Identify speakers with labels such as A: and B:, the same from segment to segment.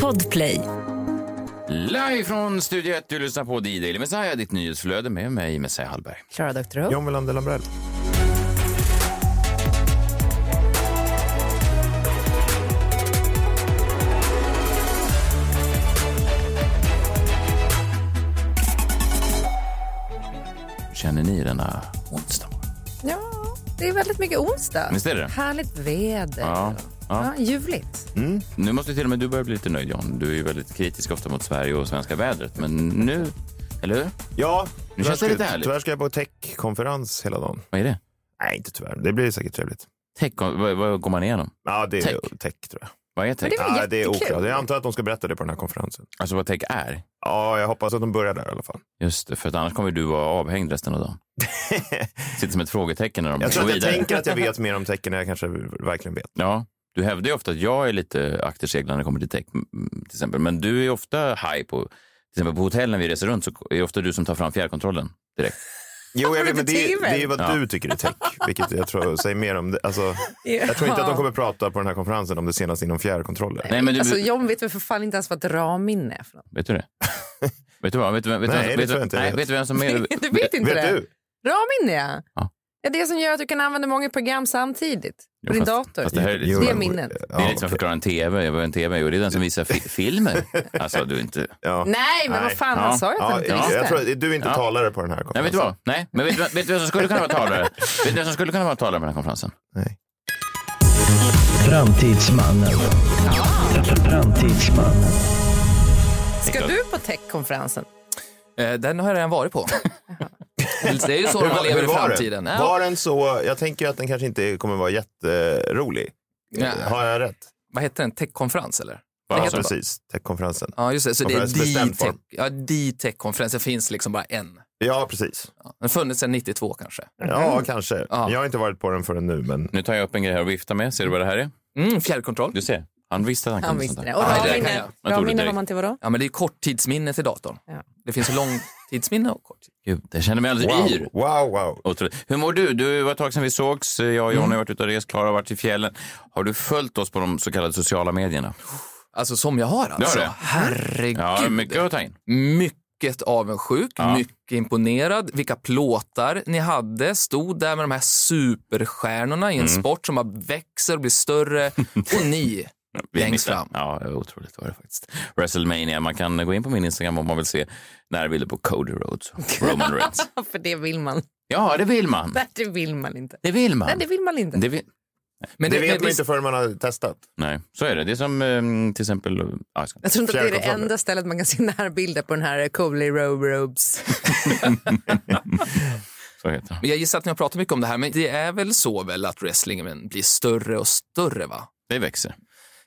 A: Podplay.
B: Live från Studio 1, du lyssnar på D-Daily Messiah, ditt nyhetsflöde med mig, Messiah Hallberg.
A: Klara Doktorow.
C: John Wilander Lambrell.
B: Känner ni denna onsdag?
A: Ja, det är väldigt mycket onsdag.
B: Visst är det?
A: Härligt väder.
B: Ja, ja.
A: Ja, ljuvligt.
B: Nu måste till och med du börja bli lite nöjd, John. Du är ju väldigt kritisk ofta mot Sverige och svenska vädret, men nu... Eller hur?
C: Ja,
B: Nu
C: tyvärr
B: känns det
C: ska-
B: lite härligt.
C: Tyvärr ska jag på techkonferens hela dagen.
B: Vad är det?
C: Nej, inte tyvärr. Det blir säkert trevligt.
B: Tech, vad, vad går man igenom?
C: Ja, det är
B: Tech.
C: tech, tror jag.
B: Vad är tech?
A: Men det är väl
C: Ja, det är
A: jättekul.
C: oklart. Jag antar att de ska berätta det på den här konferensen.
B: Alltså vad tech är?
C: Ja, jag hoppas att de börjar där i alla fall.
B: Just det, för att annars kommer du vara avhängd resten av dagen. Sitter som ett frågetecken när de
C: Jag
B: går
C: tror att jag
B: vidare.
C: tänker att jag vet mer om tech än jag kanske verkligen vet.
B: Ja, du hävdar ju ofta att jag är lite akterseglad när det kommer till tech, mm, till exempel. Men du är ofta high på, till exempel på hotell när vi reser runt så är det ofta du som tar fram fjärrkontrollen direkt.
C: Jo, jag vet, men det, är-
A: Detektiven.
C: det är vad
B: Ja.
C: du tycker är tech, vilket jag tror säger mer om det. Alltså, jag tror inte att de kommer prata på den här konferensen om det senaste inom fjärrkontroller.
B: Nej, men du,
A: Alltså, John vet väl för fan inte ens vad ett RAM-minne är för något.
B: Vet du det? vet du vad? Vet du, vem- vet du
C: Nej,
B: vem-
C: det
B: vet du-
C: tror jag inte jag
B: Nej,
C: vet.
B: vet du vem som är...
A: Du vet inte
C: Vet
A: det?
C: du?
A: RAM-minne, ja.
B: Ja.
A: Det är det som gör att du kan använda många program samtidigt på din
B: fast-
A: dator.
B: fast det här är lite-
A: det är
C: Jo,
A: minnet.
C: ja,
B: Det är lite som att förklara en tv, vad en tv är. Och det är den som visar fi filmer. Alltså, du är inte...
C: ja.
A: Nej, men
C: Nej.
A: vad fan,
B: Ja.
A: han sa ju att han
C: Ja,
A: inte
C: jag tror
A: visste.
C: att du är inte
B: Ja.
C: talare på den här konferensen.
B: Nej, vet du vad? Nej, men vet du vad- vet du vem som skulle kunna vara talare? Vet du vem som skulle kunna vara talare på den här konferensen?
C: Nej.
D: Framtidsmannen. Framtidsmannen.
A: Ska du på techkonferensen?
E: Eh, Den har jag redan varit på. Det är ju så
C: Hur,
E: man
C: var-
E: lever
C: hur
E: i
C: var
E: framtiden.
C: den?
E: Ja.
C: Var den så, jag tänker ju att den kanske inte kommer vara jätterolig.
E: Ja.
C: Har jag rätt?
E: Vad heter den? Techkonferens eller? Vad
C: Ja,
E: heter den?
C: precis. Techkonferensen.
E: Ja, just det. Så det är
C: Konferens bestämd
E: D-tech.
C: form.
E: Ja, D-tech-konferens. Det finns liksom bara en.
C: Ja, precis.
E: Ja, Den har funnits sedan 92 kanske.
C: Ja, kanske.
E: Ja.
C: Jag har inte varit på den förrän nu, men
B: Nu tar jag upp en grej här och viftar med. Ser du vad det här är?
E: Mm, fjärrkontroll.
B: Du ser. Han visste att han
A: Han
B: kunde sånt
A: visste det.
B: där.
A: Och
E: Ja, det
A: RAM-minne,
E: kan jag.
B: Jag tog det
A: RAM-minne
B: direkt.
A: var man till vadå?
E: Ja, men det är ju korttidsminne till datorn.
A: Ja.
E: Det finns ju långtidsminne och korttidsminne.
B: Gud, jag känner mig alldeles
C: wow,
B: yr.
C: wow, wow.
B: Otroligt. Hur mår du? Du det var ett tag sedan vi sågs. Jag och John har varit ute och rest. Klara har varit i fjällen. Har du följt oss på de så kallade sociala medierna?
E: Alltså som jag har alltså.
B: det.
E: Herregud.
B: Ja, mycket att ta in.
E: Mycket avundsjuk,
B: Ja.
E: mycket imponerad. Vilka plåtar ni hade. Stod där med de här superstjärnorna i en sport som bara växer och blir större. Och ni längst fram.
B: Ja, det var otroligt var det faktiskt. WrestleMania. Man kan gå in på min Instagram om man vill se närbilder på Cody Rhodes och Roman Reigns.
A: Ja, För det vill man.
B: Ja, det vill man.
A: Nej, det vill man inte.
B: Det vill man.
A: Nej, det vill man inte.
B: Det vill...
E: Men
C: Det vet
E: men
C: man
E: visst-
C: inte förrän man har testat.
B: Nej, så är det. Det är som eh, till exempel... ja, jag ska-
A: Jag tror inte att det är det
C: Fjärrkontroller.
A: enda stället man kan se närbilder på den här Coley Robe Robes.
B: Så heter det.
E: Men Jag gissar att ni har pratat mycket om det här, men det är väl så väl att wrestlingen blir större och större, va?
B: Det växer.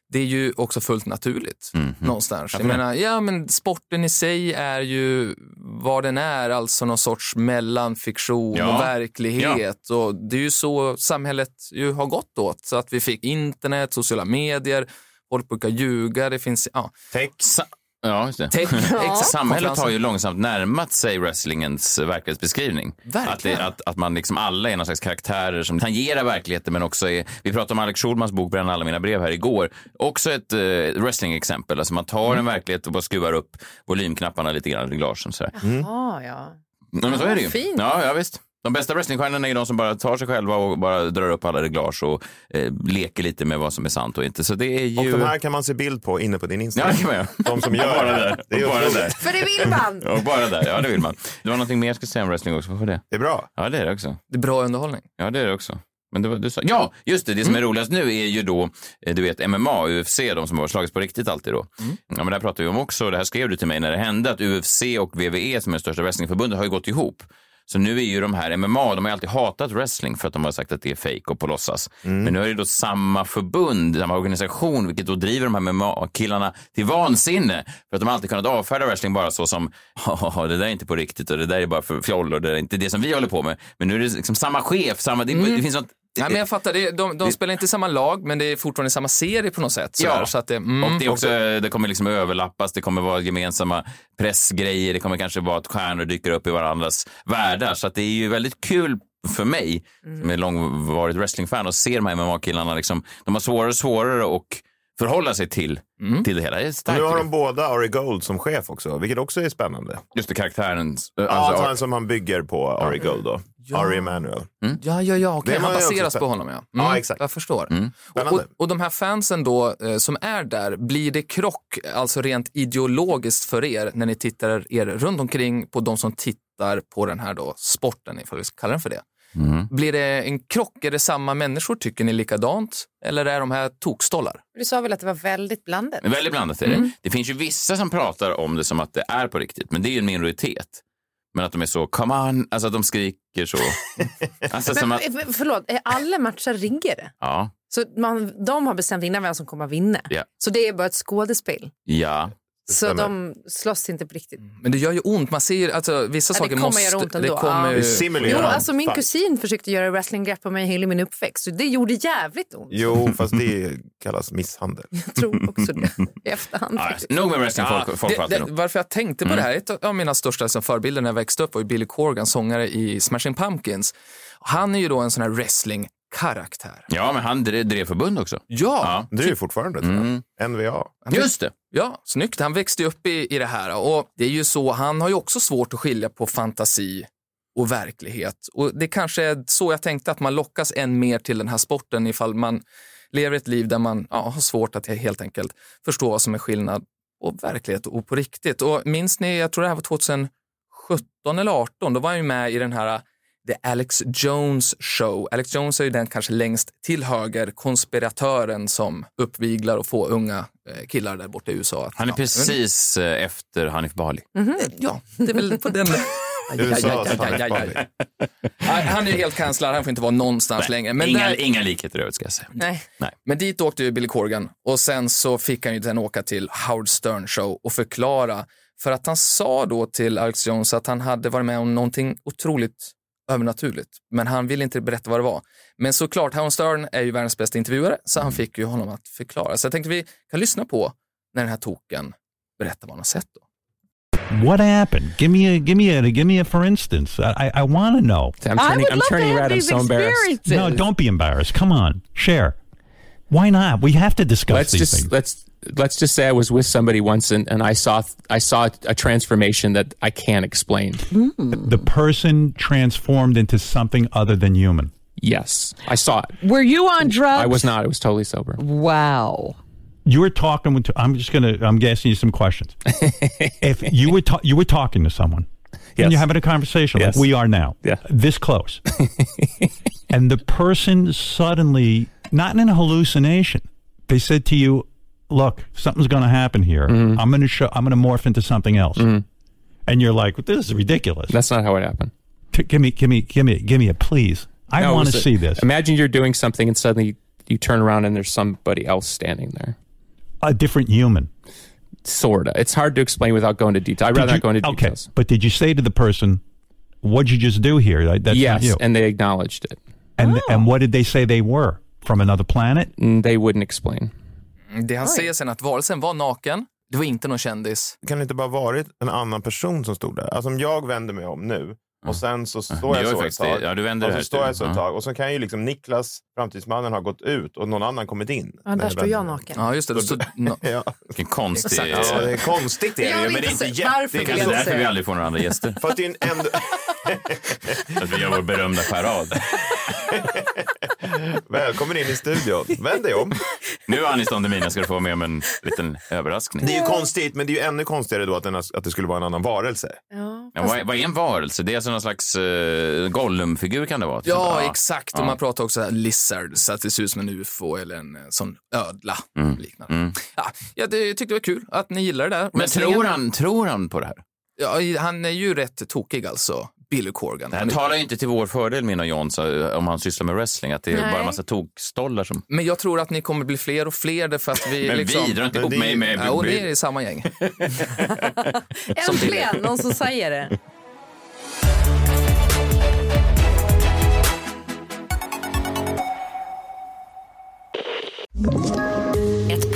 E: Det är ju också fullt naturligt
B: Mhm.
E: någonstans. Jag
B: Varför det?
E: menar, ja, men sporten i sig är ju vad den är, alltså någon sorts mellanfiktion
B: Ja.
E: och verklighet. Och det är ju så samhället ju har gått åt, så att vi fick internet, sociala medier, folk brukar ljuga, det finns... Ja,
C: Tech.
B: Sa- ja, just det.
E: tech, exakt.
B: Samhället har ju långsamt närmat sig wrestlingens eh, verklighetsbeskrivning. Att,
E: Verkligen.
B: det, att, att man liksom alla är någon slags karaktärer som tangerar verkligheten men också är, vi pratade om Alex Schulmans bok Bränn alla mina brev här igår, också ett eh, wrestlingexempel. Alltså man tar en verklighet och bara skruvar upp volymknapparna lite grann, reglagen sådär.
D: Mm.
A: Ah, ja.
B: Nej, men så är det ju.
A: Fint.
B: Ja, ja, visst. De bästa wrestlingstjärnorna är ju de som bara tar sig själva och bara drar upp alla reglage och eh, leker lite med vad som är sant och inte. Så det är ju...
C: Och de här kan man se bild på inne på din
B: Ja, det
C: Instagram.
B: kan man göra.
C: De som gör
B: bara
C: det.
B: där.
C: Det är ju
B: Och bara
C: otroligt.
B: där.
A: För det vill man!
B: Och bara där. Ja, det vill man. Det var någonting mer jag skulle säga om wrestling också. Varför det?
C: Det är bra.
B: Ja, det är det också.
E: Det är bra underhållning.
B: Ja, det är det också. Men det var, du sa, ja, just det. Det som är roligast nu är ju då, eh, du vet, MMA, UFC, de som har slagits på riktigt alltid då. Ja, men det här pratade vi om också, det här skrev du till mig när det hände, att UFC och VVE som är det största wrestlingförbundet har ju gått ihop. Så nu är ju de här MMA, de har ju alltid hatat wrestling för att de har sagt att det är fejk och på låtsas.
E: Mm.
B: Men nu är det då samma förbund, samma organisation, vilket då driver de här MMA-killarna till vansinne. För att de har alltid kunnat avfärda wrestling bara så som, "Haha, det där är inte på riktigt och det där är bara för fjoll och det där är inte det som vi håller på med. Men nu är det liksom samma chef, samma, det, det finns något...
E: Mm. Nej, men jag fattar, det, de, de spelar inte i samma lag, men det är fortfarande samma serie på något sätt. Sådär,
B: Ja.
E: så att det, mm.
B: Och det, är också, det kommer liksom överlappas, det kommer vara gemensamma pressgrejer, det kommer kanske vara att stjärnor dyker upp i varandras världar. Så att det är ju väldigt kul för mig, som är långvarigt wrestlingfan, och se de här MMA-killarna. Liksom, de har svårare och svårare och förhålla sig till, till det hela. Det är starkt.
C: Nu har de båda Ari Gold som chef också, vilket också är spännande.
B: Just det, karaktärens...
C: Ja,
B: alltså-
C: alltså, han som han bygger på Ari Gold då. Ari Emanuel.
E: Ja, ja, ja, okej.
C: Det
E: Han
C: var ju
E: baseras
C: också
E: på
C: fett.
E: honom, ja. Mm,
C: Ja, exakt.
E: Jag förstår. Och, och,
C: Spännande.
E: och de här fansen då eh, som är där, blir det krock, alltså rent ideologiskt för er när ni tittar er runt omkring på de som tittar på den här då sporten, ifall vi ska kalla den för det? Blir det en krock? Är det samma människor? Tycker ni likadant? Eller är de här tokstollar?
D: Du sa väl att det var väldigt blandat?
B: Men Väldigt blandat är det. Det finns ju vissa som pratar om det som att det är på riktigt, men det är ju en minoritet. Men att de är så, come on, alltså att de skriker så. alltså som att,
D: Men, förlåt, är alla matcher riggade?
B: ja,
D: Så man, de har bestämt innan vem som kommer att vinna.
B: Ja.
D: Så det är bara ett skådespel.
B: ja.
D: Så
C: stämmer.
D: de slåss inte på riktigt.
E: Men det gör ju ont. Man ser alltså vissa
D: det
E: saker
D: kommer
E: måste...
D: göra ont ändå.
E: Det kommer
D: Ja.
E: ju...
C: Det simulerar
D: Jo,
C: han.
D: alltså min
C: Fan.
D: kusin försökte göra wrestlinggrepp på mig hela min uppväxt. Så det gjorde jävligt ont.
C: Jo, fast det kallas misshandel.
D: Jag tror också det i efterhand.
B: ja
D: faktiskt.
B: nog med wrestling,
E: Ja,
B: folk, folk
E: det-
B: pratar
E: Ah, det-
B: nog.
E: Varför jag tänkte på det här, ett av mina största liksom, förebilder när jag växte upp var ju Billy Corgan, sångare i Smashing Pumpkins. Han är ju då en sån här wrestling-karaktär.
B: Ja, men han drev, drev förbund också.
E: Ja,
C: Det är ju fortfarande, tror jag. NVA.
B: Just det.
E: ja, snyggt. Han växte ju upp i, i det här och det är ju så, han har ju också svårt att skilja på fantasi och verklighet. Och det kanske är så jag tänkte att man lockas än mer till den här sporten ifall man lever ett liv där man ja, har svårt att helt enkelt förstå vad som är skillnad och verklighet och på riktigt. Och minns ni, jag tror det här var 2017 eller 18, då var han ju med i den här äh, The Alex Jones Show. Alex Jones är ju den kanske längst till höger konspiratören som uppviglar och får unga eh, killar där borta i USA. att-
B: Han är
E: ja,
B: precis eh, efter Hanif Bali.
E: Ja, det är väl på den... Aj, aj, aj,
C: USAs
E: aj, aj, aj, aj.
C: handelsbali.
E: Nej, Han är ju helt kanslad, han får inte vara någonstans längre. Men,
B: inga,
E: där,
B: inga likheter i övrigt ska jag säga.
D: Nej.
E: men dit åkte ju Billy Corgan och sen så fick han ju den åka till Howard Stern Show och förklara. För att han sa då till Alex Jones att han hade varit med om någonting otroligt övernaturligt, men han ville inte berätta vad det var. Men såklart, Howard Stern är ju världens bästa intervjuare, så han fick ju honom att förklara. Så jag tänkte vi kan lyssna på när den här token berättar vad han har sett. Då.
F: What happened? Give me a give me a give me a for instance. I I, I want to know.
G: I'm turning, I'm turning red. I'm so embarrassed.
F: No, don't be embarrassed. Come on, share. Why not? We have to discuss
G: Let's
F: these
G: just
F: things.
G: let's let's just say I was with somebody once and, and I saw I saw a transformation that I can't explain.
F: The person transformed into something other than human.
G: Yes, I saw it.
H: Were you on drugs?
G: I was not. I was totally sober.
H: Wow.
F: You were talking with. I'm just gonna. I'm asking you some questions. if you were ta- you were talking to someone,
G: Yes.
F: and you're having a conversation
G: Yes.
F: like we are now,
G: Yeah.
F: this close, and the person suddenly, not in a hallucination, they said to you, "Look, something's going to happen here.
G: Mm-hmm.
F: I'm going to show. I'm going to morph into something else." And you're like, "This is ridiculous.
G: That's not how it happened.
F: T- give me, give me, give me, give me a please. I
G: No, it
F: want
G: was
F: to
G: a-
F: see this.
G: Imagine you're doing something and suddenly you turn around and there's somebody else standing there.
F: a different human."
G: Sorta. It's hard to explain without going to detail. I'd
F: Did
G: rather
F: you-
G: not go into
F: okay,
G: details.
F: but did you say to the person, "What'd you just do here? That- That's not
G: yes,
F: you."
G: and Oh. they acknowledged it.
F: And and what did they say they were from another planet?
G: And Mm, they wouldn't explain.
E: Det han säger sen att varelsen var naken, det var inte någon kändis,
C: Kan det inte bara varit en annan person som stod där? Alltså om jag vänder mig om nu och sen så
B: Mm.
C: står
B: Du
C: jag
B: gör
C: så ett
B: faktiskt
C: tag.
B: det. Ja, du vänder
C: och
B: det
C: så
B: här
C: står
B: till-
C: jag så
B: ja.
C: ett tag och så kan ju liksom Niklas, framtidsmannen, ha gått ut och någon annan kommit in.
D: Ja, där
C: Nej,
D: står
C: vem-
D: jag naken.
E: Ja, just det. Då stod, no.
C: Ja.
B: Vilken konstig...
E: Exakt.
C: ja, det är konstigt det är
D: Jag
C: det ju,
D: vill
C: men det är
D: inte
C: inte
D: se- varför
B: Det är kanske
D: Jag
B: därför
D: ser.
B: vi aldrig får några andra gäster.
C: För att det är en ändå...
B: Att vi gör vår berömda parad.
C: Välkommen in i studion. Vänd dig om.
B: Nu, Anis Don Demina, ska du få med om en liten överraskning.
C: Det är ju konstigt, men det är ju ännu konstigare då att, den, har- att det skulle vara en annan varelse.
D: Ja.
B: Ja, vad, är- vad är en varelse? Det är alltså någon slags uh, Gollum-figur kan det vara. till
E: Ja,
B: exempel.
E: exakt. Och man pratar också här lizard, så att det ser ut som en ufo eller en eh, sån ödla. Liknande. Ja, jag ty- tyckte det var kul att ni gillar det där.
B: Mm. Men tror han, tror han på det här?
E: Ja, i- han är ju rätt tokig alltså, Billy Corgan.
B: Det här talar ju inte till vår fördel, min och Johns, eh, om han sysslar med wrestling. Att det är
D: Nej.
B: bara en massa tokstollar som...
E: Men jag tror att ni kommer bli fler och fler därför att vi
B: Men
E: liksom...
B: vi drar inte
C: Men
B: ihop
C: det-
B: mig med...
E: Ja, och ni är i samma gäng.
D: Äntligen någon som säger det.
I: Ett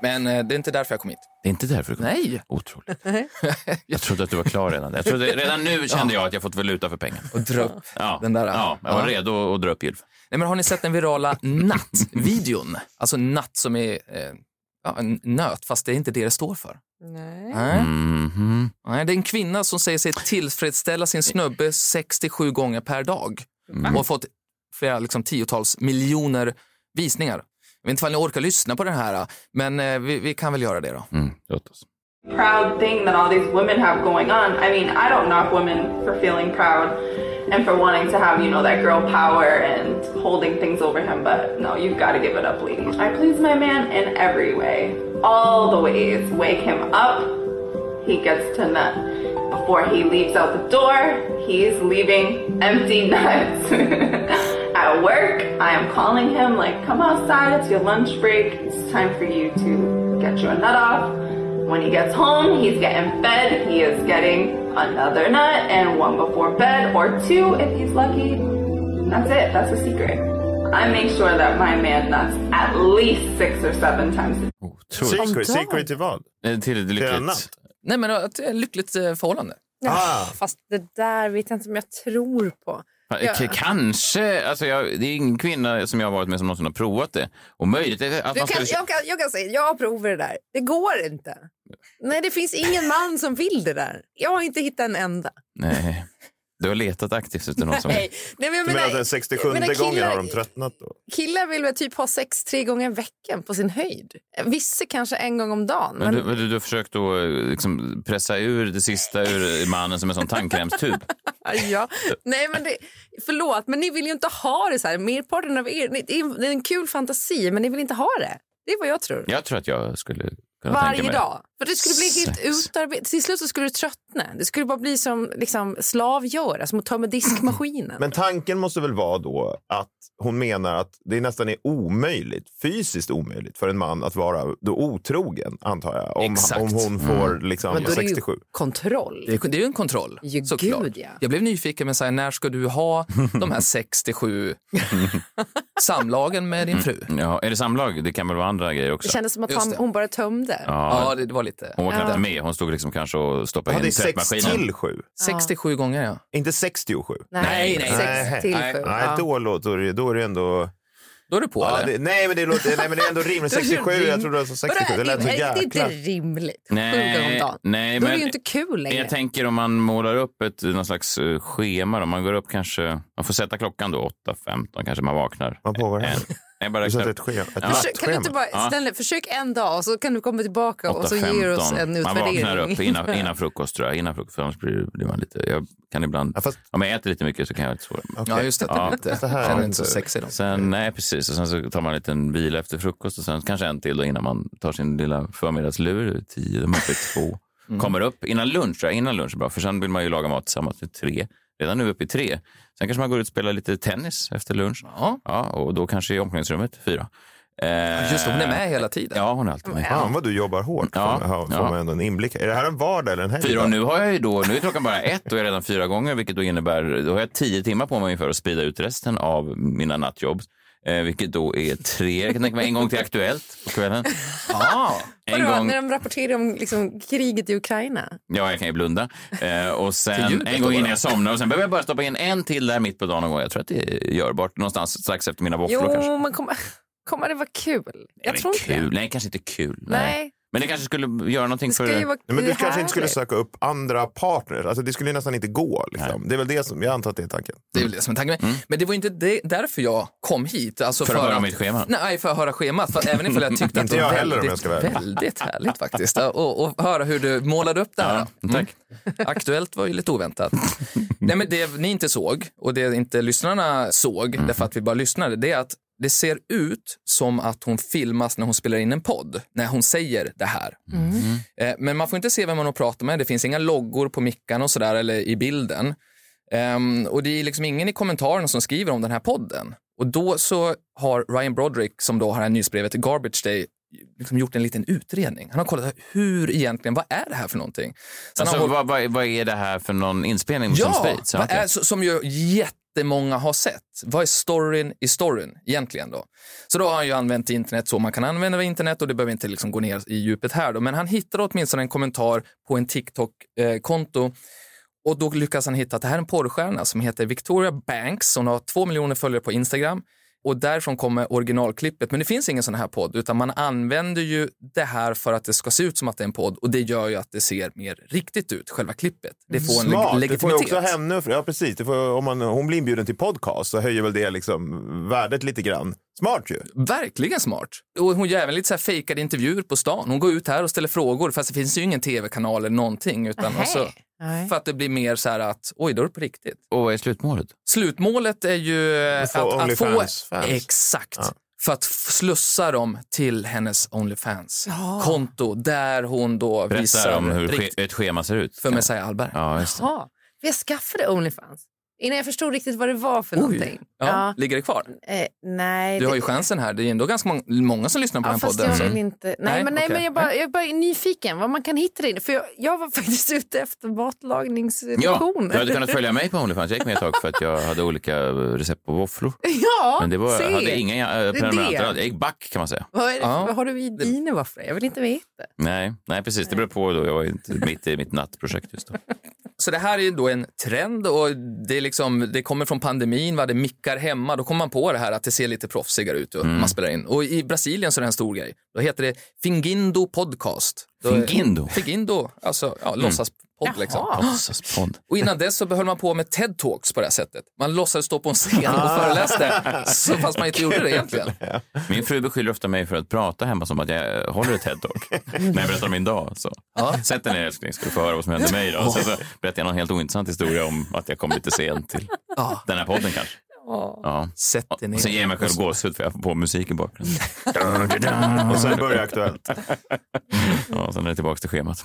E: Men eh, det är inte därför jag kom hit.
B: Det är inte därför du kom.
E: Nej.
B: Otroligt. Jag trodde att du var klar redan. Jag trodde, redan nu kände jag att jag fått valuta för pengarna.
E: Och dra upp
B: Ja,
E: den där.
B: ja jag var redo att dra upp Ylva.
E: Nej, men har ni sett den virala nattvideon? Alltså natt som är eh, ja, en nöt, fast det är inte det det står för.
D: Nej.
E: Nej.
B: Mhm.
E: Nej, det är en kvinna som säger sig tillfredsställa sin snubbe 67 gånger per dag och har fått flera liksom, tiotals miljoner visningar. Jag vet inte om ni orkar lyssna på den här, men eh, vi, vi kan väl göra det då.
B: Mm, låt oss.
J: proud thing that all these women have going on. I mean, I don't knock women for feeling proud and for wanting to have, you know, that girl power and holding things over him, but no, you've got to give it up, ladies. I please my man in every way, all the ways. Wake him up, he gets to nut. Before he leaves out the door, he's leaving empty nuts. At work, I am calling him like, come outside, it's your lunch break. It's time for you to get your nut off. When he gets home, he's getting fed. He is getting another nut and one before bed, or two if he's lucky. That's it. That's a secret. I make sure that my man nuts at least six or seven times a day.
B: Otroligt.
C: Secret, secret till vad?
B: Eh, Till ett
C: Till en natt?
B: lyckligt.
E: Nej, men ett eh, lyckligt eh, förhållande.
C: Ah.
D: Fast det där vet jag inte om jag tror på.
B: K- Kanske. Alltså jag, det är ingen kvinna som jag har varit med som någonsin har provat det. Och möjligt är att
D: Du
B: man
D: kan,
B: skulle...
D: jag, kan, jag kan säga, jag provar det där. Det går inte. Nej, det finns ingen man som vill det där. Jag har inte hittat en enda.
B: Nej. Du har letat aktivt efter någon som...
D: Nej, Nej men jag
C: Du menar att
D: menar,
C: den 67
D: jag menar,
C: gången
D: killar-
C: har de tröttnat då?
D: killar vill väl typ ha sex tre gånger i veckan på sin höjd. Vissa kanske en gång om dagen.
B: Men
D: Men
B: du, men du, du har försökt då eh, liksom pressa ur det sista ur mannen som en sån tandkrämstub.
D: Ja. Nej, men det, förlåt, men ni vill ju inte ha det så här. Merparten av er, ni- det är det är en kul fantasi, men ni vill inte ha det. Det är vad jag tror.
B: Jag tror att jag skulle kunna tänka
D: Varje
B: mig
D: dag. För det skulle bli helt
B: Sex.
D: utarbetat. Till slut så skulle du tröttna. Det skulle bara bli som liksom, slav gör, alltså, som att ta med diskmaskinen.
C: Men tanken måste väl vara då att hon menar att det nästan är omöjligt, fysiskt omöjligt för en man att vara då otrogen, antar jag. Om,
E: Exakt.
C: om hon får liksom
D: Men då är det ju
C: 67.
D: kontroll.
E: Det är, det är ju en kontroll,
D: Ju
E: såklart.
D: gud, ja.
E: Jag blev nyfiken, men så här, när ska du ha de här 67 samlagen med din fru?
B: Ja, är det samlag? Det kan väl vara andra grejer också?
D: Det kändes som att
E: Just
D: han,
E: det.
D: hon bara tömde.
B: Ja,
E: Ja, det, det var lite.
B: hon var knappt med. Hon stod liksom kanske och
C: Ja,
B: stoppade
C: det är
B: in
C: sex
B: tvättmaskinen.
C: till sju,
E: 67 gånger, ja.
C: inte 67.
E: Nej, nej.
D: sex
C: Nej.
D: till
E: Nej.
D: sju.
C: Nej,
D: Ja.
C: då, låter- då, är det- då är det ändå...
E: Då är du på,
C: Ja,
E: eller?
C: det, nej, men det låter, nej, men det är ändå rimligt. 67, jag trodde det var 67. Det lät så
D: Vadå, är det inte
C: jäkla...
D: rimligt?
B: Nej,
D: Sju gånger om dagen.
B: nej,
D: Då är det
B: men-
D: ju inte kul längre.
B: Jag tänker om man målar upp ett någon slags eh, schema. Då. Man går upp kanske... Man får sätta klockan då, 8.15 kanske man vaknar.
C: Vad pågår här?
B: En- Jag bara
C: Du
B: räknar
C: satte
B: upp.
C: ett schema. Ett
D: Försök, kan du inte
C: nattschema.
D: bara, snälla, försök en dag och så kan du komma tillbaka och så ger du oss en
B: 8.15. Man
D: utvärdering.
B: vaknar upp innan, innan frukost tror jag. Innan frukost, annars blir, blir man lite... Jag kan ibland...
C: Ja, fast-
B: Om jag äter lite mycket så kan jag ha lite svårare.
E: Ja, just det.
B: Ja.
E: Ja. Lite.
C: Så här är
E: Den är
C: det
E: inte så
C: inte.
E: sexig då.
B: Sen, nej, precis. Och sen så tar man en liten vila efter frukost och sen kanske en till då innan man tar sin lilla förmiddagslur. Tio, de är uppe i två.
E: Mm.
B: Kommer upp innan lunch, tror jag. Innan lunch är bra, för sen vill man ju laga mat tillsammans med tre. Redan nu uppe i tre. Sen kanske man går ut och spelar lite tennis efter lunch.
E: Ja.
B: och då kanske i omklädningsrummet, fyra. Eh,
E: Just det, hon är med hela tiden.
B: Ja, hon är alltid med.
C: Fan vad du jobbar hårt,
B: Ja,
C: får, man- får
B: ja.
C: man ändå en inblick. Är det här en vardag eller en helg?
B: Fyra
C: då?
B: och nu har jag ju då, nu är klockan bara ett och jag är redan fyra gånger, vilket då innebär, då har jag tio timmar på mig ungefär att sprida ut resten av mina nattjobb. Eh, vilket då är tre, jag kan tänka mig en gång till Aktuellt på kvällen.
E: Ja.
B: En
D: Vadå,
B: gång,
D: När de rapporterar om liksom, kriget i Ukraina.
B: ja jag kan ju blunda. Eh, och
E: Till
B: sen
E: ljudet
B: en gång
E: då,
B: innan
E: va?
B: jag somnar och sen behöver jag bara stoppa in en till där mitt på dagen någon gång. Jag tror att det är görbart, någonstans strax efter mina våfflor kanske.
D: Jo, men kommer kommer det vara kul? Jag
B: Men
D: tror inte
B: kul.
D: det.
B: Nej, kanske inte kul.
D: Nej,
B: Men det kanske skulle göra någonting
D: det
B: för...
D: ska ju vara
C: Nej, men
D: det
C: du
D: är
C: kanske inte skulle
D: härligt.
C: söka upp andra partners. Alltså, det skulle ju nästan inte gå. Liksom. Det är väl det som, jag antar att det är tanken.
E: Det är väl det som är tanken.
C: Mm.
E: Men- Men det var inte det, därför jag kom hit. Alltså
B: För att höra mitt schema?
E: Nej, för att höra schemat. För att även ifall jag tyckte att
C: Inte
E: det var
C: jag heller, om jag
E: väldigt,
C: ska vara ärlig.
E: väldigt härligt faktiskt. Ja, Och, och höra hur du målade upp det här.
D: Mm.
E: Mm.
B: Tack.
E: Aktuellt var ju lite oväntat. Nej, men det ni inte såg och det inte lyssnarna såg, därför att vi bara lyssnade, det är att det ser ut som att hon filmas när hon spelar in en podd, när hon säger det här. Eh, Men man får inte se vem hon pratar med, det finns inga loggor på mickarna och sådär eller i bilden. Ehm, och det är liksom ingen i kommentarerna som skriver om den här podden. Och då så har Ryan Broderick, som då har det här nyhetsbrevet till Garbage Day, liksom gjort en liten utredning. Han har kollat hur egentligen, vad är det här för någonting? Så han
B: Alltså,
E: har hållit-
B: vad, vad, vad är det här för någon inspelning
E: ja,
B: som States?
E: vad är, så- som ju jättemånga har sett. Vad är storyn i storyn egentligen då? Så då har han ju använt internet så man kan använda internet och det behöver inte liksom gå ner i djupet här då. Men han hittar åtminstone en kommentar på en TikTok-konto och då lyckas han hitta att det här är en porrstjärna som heter Victoria Banks. Hon har två miljoner följare på Instagram och därifrån kommer originalklippet. Men det finns ingen sån här podd utan man använder ju det här för att det ska se ut som att det är en podd och det gör ju att det ser mer riktigt ut, själva klippet. Det får en
C: Smart.
E: leg-
C: det får ju
E: legitimitet.
C: också henne, ja, precis. Det får, om man, hon blir inbjuden till podcast så höjer väl det liksom värdet lite grann. Smart ju.
E: Verkligen smart. Och hon gör även lite så här fejkade intervjuer på stan. Hon går ut här och ställer frågor fast det finns ju ingen tv-kanal eller någonting. Utan
A: Nej.
E: alltså,
A: Nej.
E: för att det blir mer så här att, oj då är det på riktigt.
B: Och vad är slutmålet?
E: Slutmålet är ju eh,
B: få
E: att, att få...
B: OnlyFans fans.
E: Exakt. För att f- slussa dem till hennes OnlyFans-konto där hon då visar...
B: Berätta om hur ske,
E: rikt-
B: ett schema ser ut.
E: För Messiah Hallberg.
B: Ja, just det.
D: Ja, för jag skaffade Onlyfans innan jag förstod riktigt vad det var för någonting.
E: Ja, Ligger det kvar?
D: Eh, nej,
E: Du har
D: det-
E: ju chansen här. Det är ändå ganska mång- många som lyssnar på den här
D: fast
E: podden.
D: jag vill inte. Nej, men, nej,
E: okej.
D: men jag, bara, jag bara är nyfiken vad man kan hitta det i. För jag, jag var faktiskt ute efter
B: Ja,
D: matlagningslektioner.
B: du hade kunnat följa mig på Onlyfans. Jag gick med ett tag för att jag hade olika eh, recept på våfflor.
D: Ja,
B: Men det var,
D: se.
B: hade inga
D: Det
B: eh,
D: är
B: prenumeranter.
D: det.
B: alls. Jag gick back kan man säga.
D: Vad, är det,
B: Ja.
D: vad har du i dina våfflor? Jag vill inte veta.
B: Nej, nej, precis. Det beror på. Då. Jag var ju inte mitt i mitt nattprojekt just då.
E: Så det här är ju då en trend och det, är liksom, det kommer från pandemin, va? det mickar hemma. Då kommer man på det här att det ser lite proffsigare ut och
B: Mm.
E: man spelar in. Och i Brasilien så är det en stor grej. Då heter det Fingindo podcast. Då är-
B: Fingindo? Mm.
E: Fingindo, alltså ja, låtsaspodd. Liksom.
B: Låtsaspodd.
E: Och innan dess så höll man på med TED-talks på det här sättet. Man låtsades stå på en scen och
B: Ah.
E: föreläste, så fast man inte gjorde det egentligen.
B: Min fru beskyller ofta mig för att prata hemma som att jag håller ett TED-talk. När jag berättar om min dag. Så. Sätt dig ner älskling, ska du få höra vad som hände mig idag. Sen så berättar jag någon helt ointressant historia om att jag kom lite sent till
E: Ja.
B: den här podden kanske. Ja.
E: Sätt dig ner.
B: Och sen ger jag mig själv gåshud för jag får på musik i bakgrunden.
C: Och sen börjar Aktuellt.
B: Ja, sen är det tillbaka till schemat.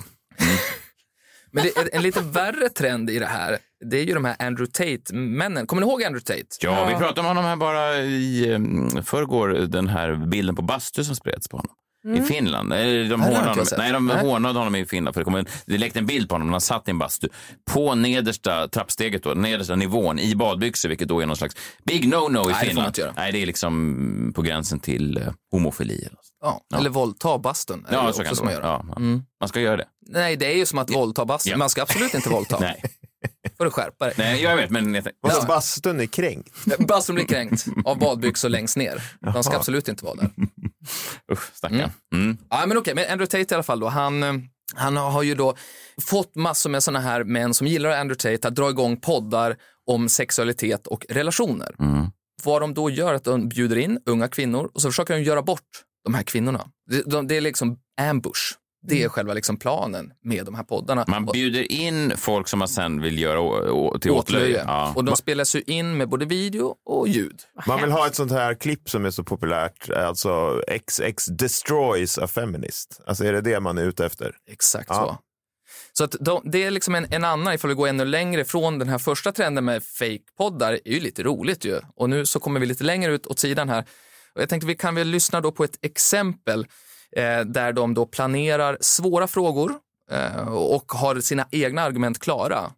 E: Men det, är en lite värre trend i det här, det är ju de här Andrew Tate-männen. Kommer ni ihåg Andrew Tate?
B: Ja, vi pratade om honom här bara i eh, förrgår, den här bilden på bastu som spreds på honom. I Finland. Eller de
E: Mm. har jag
B: hånade
E: inte
B: honom.
E: sett.
B: Nej, de
E: Nej.
B: hånade honom i Finland. För det, kom en, det läckte en bild på honom när han satt i en bastu. På nedersta trappsteget, då, nedersta nivån, i badbyxor, vilket då är någon slags big no-no i
E: Nej, det får man
B: Finland.
E: inte göra.
B: Nej, det är liksom på gränsen till eh, homofili. Eller något.
E: Ja, Eller våldta bastun. är
B: Ja,
E: det
B: så kan
E: också
B: det
E: som Mm. man
B: vara.
E: gör.
B: Ja, ja. Man ska göra det.
E: Nej, det är ju som att våldta bastun. Man ska absolut inte våldta.
B: Nej.
E: får du skärpa dig.
B: Nej, jag vet, men... Jag tänkte-
C: Vadå, bastun är kränkt?
E: Bastun blir kränkt av badbyxor längst ner. De ska absolut inte vara där.
B: Usch, stackarn. Mm.
E: Ja, men okej, men Andrew Tate i alla fall då, han, eh, han har ju då fått massor med sådana här män som gillar Andrew Tate att dra igång poddar om sexualitet och relationer.
B: Mm.
E: Vad de då gör är att de bjuder in unga kvinnor och så försöker de göra bort de här kvinnorna. Det, de, det är liksom ambush. Det är själva liksom planen med de här poddarna.
B: Mm. Man
E: Och-
B: bjuder in folk som man sen vill göra å, å, till åtlöje. Ja.
E: Och de spelas ju in med både video och ljud.
C: Man vill ha ett sånt här klipp som är så populärt, alltså XX destroys a feminist. Alltså är det det man är ute efter?
E: Exakt
C: Ja.
E: så. Så att de, det är liksom en, en annan, ifall vi går ännu längre från den här första trenden med fake-poddar, är ju lite roligt ju. Och nu så kommer vi lite längre ut åt sidan här. Och jag tänkte vi kan väl lyssna då på ett exempel eh, där de då planerar svåra frågor eh, och har sina egna argument klara.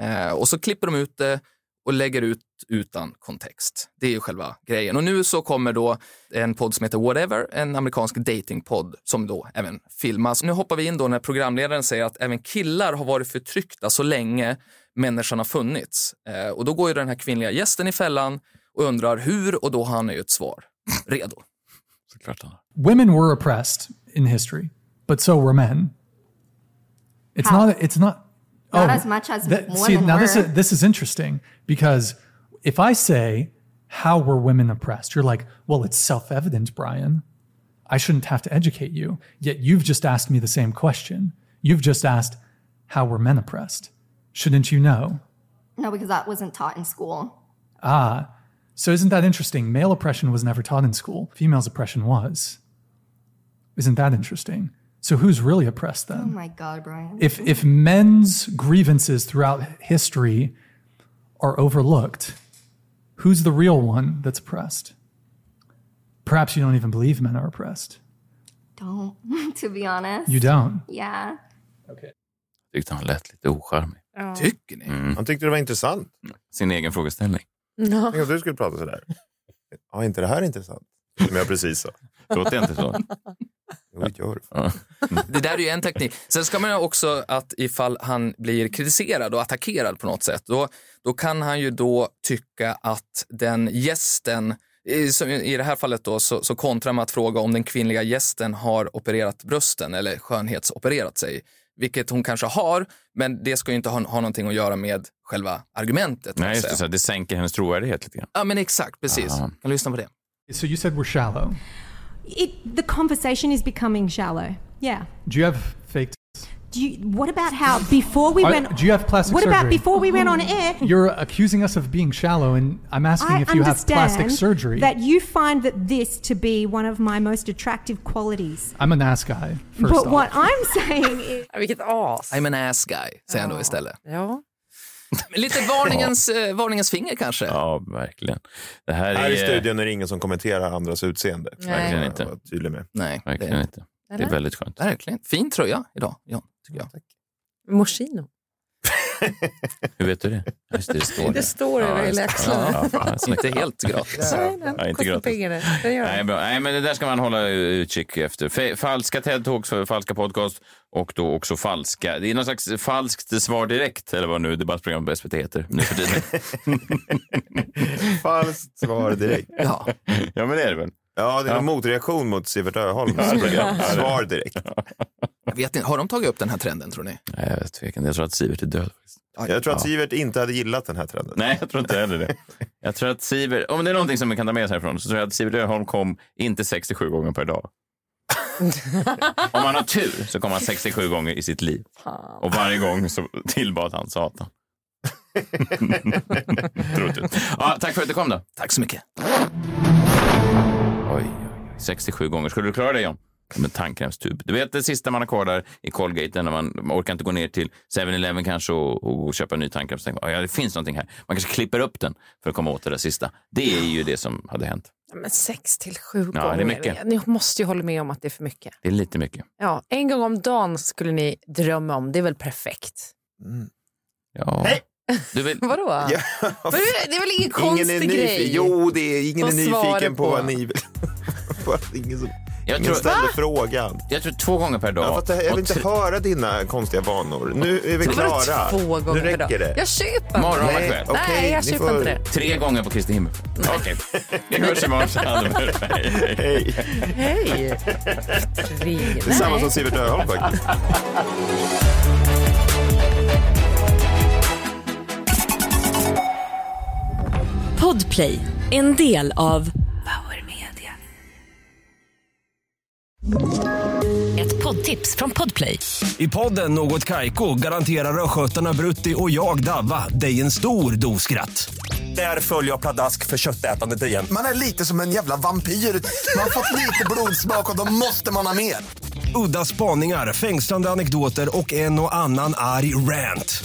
E: Eh, och så klipper de ut det och lägger ut utan kontext. Det är ju själva grejen. Och nu så kommer då en podd som heter Whatever, en amerikansk datingpodd som då även filmas. Nu hoppar vi in då när programledaren säger att även killar har varit förtryckta så länge människan har funnits. Eh, och då går ju den här kvinnliga gästen i fällan och undrar hur och då har han ju ett svar redo.
B: Såklart han har.
K: women were oppressed in history, but so were men. It's not. It's not. oh,
L: Not as much as more
K: see
L: than
K: now. This
L: were.
K: is this is interesting because if I say how were women oppressed, you're like, well, it's self evident, Brian. I shouldn't have to educate you. Yet you've just asked me the same question. You've just asked how were men oppressed. Shouldn't you know?
L: No, because that wasn't taught in school.
K: Ah, so isn't that interesting? Male oppression was never taught in school, females' oppression was. Isn't that interesting? So who's really oppressed
L: Oh
K: then?
L: my God, Brian.
K: If, if men's grievances throughout history are overlooked, who's the real one that's oppressed? Perhaps you don't even believe men are oppressed.
L: Don't, to be honest.
K: You don't?
L: Yeah.
B: Tyckte han lät lite ocharmig.
L: Ja.
E: Tycker ni?
C: Han tyckte det var intressant.
B: Sin egen frågeställning.
C: Tänk om du skulle prata sådär. Ja, inte det här är intressant? Som jag precis sa.
B: Låter jag inte så?
C: Jo, det gör
B: det.
E: Det där är ju en teknik. Sen ska man ju också att ifall han blir kritiserad och attackerad på något sätt, då, då kan han ju då tycka att den gästen i- som I det här fallet då så, så kontrar man att fråga om den kvinnliga gästen har opererat brösten eller skönhetsopererat sig. Vilket hon kanske har, men det ska ju inte ha, ha någonting att göra med själva argumentet.
B: Nej, just det,
E: säga.
B: så här, det sänker hennes trovärdighet lite grann.
E: Ja, men exakt, precis.
B: Ah.
E: Kan lyssna på det.
K: So you said we're shallow.
M: It, the conversation is becoming shallow. Yeah.
K: Do you have fake?
M: Do you, what about how before we
K: I-
M: went?
K: do you have plastic
M: what
K: surgery?
M: about before we went on air?
K: You're accusing us of being shallow, and I'm asking
M: I
K: if you have
M: understand
K: plastic surgery.
M: that you find that this to be one of my most attractive qualities.
K: I'm an ass guy. First
M: but
K: off.
M: what I'm saying is,
D: Vilket as.
E: I'm an ass guy, säger han då istället.
D: Ja.
E: Lite varningens, eh, varningens finger kanske.
B: Ja, verkligen. Det här,
C: Här i
B: är-
C: studion är det ingen som kommenterar andras utseende.
E: Nej. Verkligen inte.
C: Jag var Tydlig med.
E: Nej,
B: verkligen
E: det-
B: inte. Det är
E: Eller?
B: väldigt skönt.
E: Verkligen. Fin tröja idag, John, tycker jag.
D: Moschino.
B: Hur vet du det? Ja, Just det, det står
D: Det står över hela
B: just det.
D: axlarna.
B: Ja, ja, fan, snyggt.
E: Inte helt gratis.
D: Nej, den
B: Ja, inte
D: kostar
B: gratis.
D: pengar det. Den gör
B: Nej,
D: det.
B: bra. Nej, men det där ska man hålla utkik efter. Fe- Falska TED-talks, falska podcast och då också falska. Det är någon slags falskt svar direkt, eller vad nu debattprogrammet på SVT heter nu för tiden.
C: Falskt svar direkt.
E: Ja.
B: ja, men det är det väl?
C: Ja, det är
B: Ja.
C: en motreaktion mot Sivert Öholms
B: Ja, det-
C: program.
B: ja, det-
C: Svar direkt.
E: Jag vet inte, har de tagit upp den här trenden tror ni?
B: Nej, jag är tvekan. Jag tror att Sivert är död.
C: Jag tror att Sivert inte hade gillat den här trenden.
B: Nej, jag tror inte heller det. Jag tror att Sivert, om det är någonting som vi kan ta med oss härifrån, så tror jag att Sivert Öholm kom inte 67 gånger per dag. om man har tur så kom han 67 gånger i sitt liv. Och varje gång så tillbad han Satan. Troligt. ja, tack för att du kom då.
E: Tack så mycket.
B: Oj, oj, oj. 67 gånger. Skulle du klara det, John? Som en tandkrämstub. Du vet det sista man har kvar där i Colgate när man, man orkar inte gå ner till 7-Eleven kanske och, och, köpa en ny tandkräm. Så tänker man, ja, det finns någonting här. Man kanske klipper upp den för att komma åt det där sista. Det är ju det som hade hänt.
D: Ja, Men sex till sju
B: Ja, det är
D: gånger.
B: mycket.
D: Ni måste ju hålla med om att det är för mycket.
B: Det är lite mycket.
D: Ja, en gång om dagen skulle ni drömma om. Det är väl perfekt?
B: Ja. Du vill...
D: Vadå? Men det det är väl ingen konstig
C: Ingen är
D: grej?
C: nyfiken. Jo, det är, ingen är
D: Att svara
C: nyfiken på
D: på.
C: vad ni vill. På att ingen som,
B: Jag
C: ingen
B: tror-
C: ställde
B: Va?
C: frågan.
B: Jag tror två gånger per dag.
C: Ja, för att det- jag vill
B: Och
C: inte höra dina konstiga vanor. Nu är vi
D: Vadå
C: klara.
D: två gånger
C: nu
D: per dag?
C: räcker det.
D: Jag köper inte.
B: Morgon och
D: Nej,
B: kväll.
D: Nej,
C: okej,
D: jag
C: ni
D: köper
C: får-
D: inte det.
B: Tre gånger på Kristi himmel. Okej. Vi hörs imorgon. så hade vi det. Hej, hej.
D: Hej! Tre.
C: Det är samma som Sivert Öholm faktiskt.
I: Podplay, en del av
N: Power Media.
I: ett poddtips från Podplay.
O: I podden Något Kaiko garanterar östgötarna Brutti och jag, Davva, dig en stor dos skratt. Där följer jag pladask för köttätandet igen.
H: Man är lite som en jävla vampyr. Man har fått lite blodsmak och då måste man ha mer.
O: Udda spaningar, fängslande anekdoter och en och annan arg rant.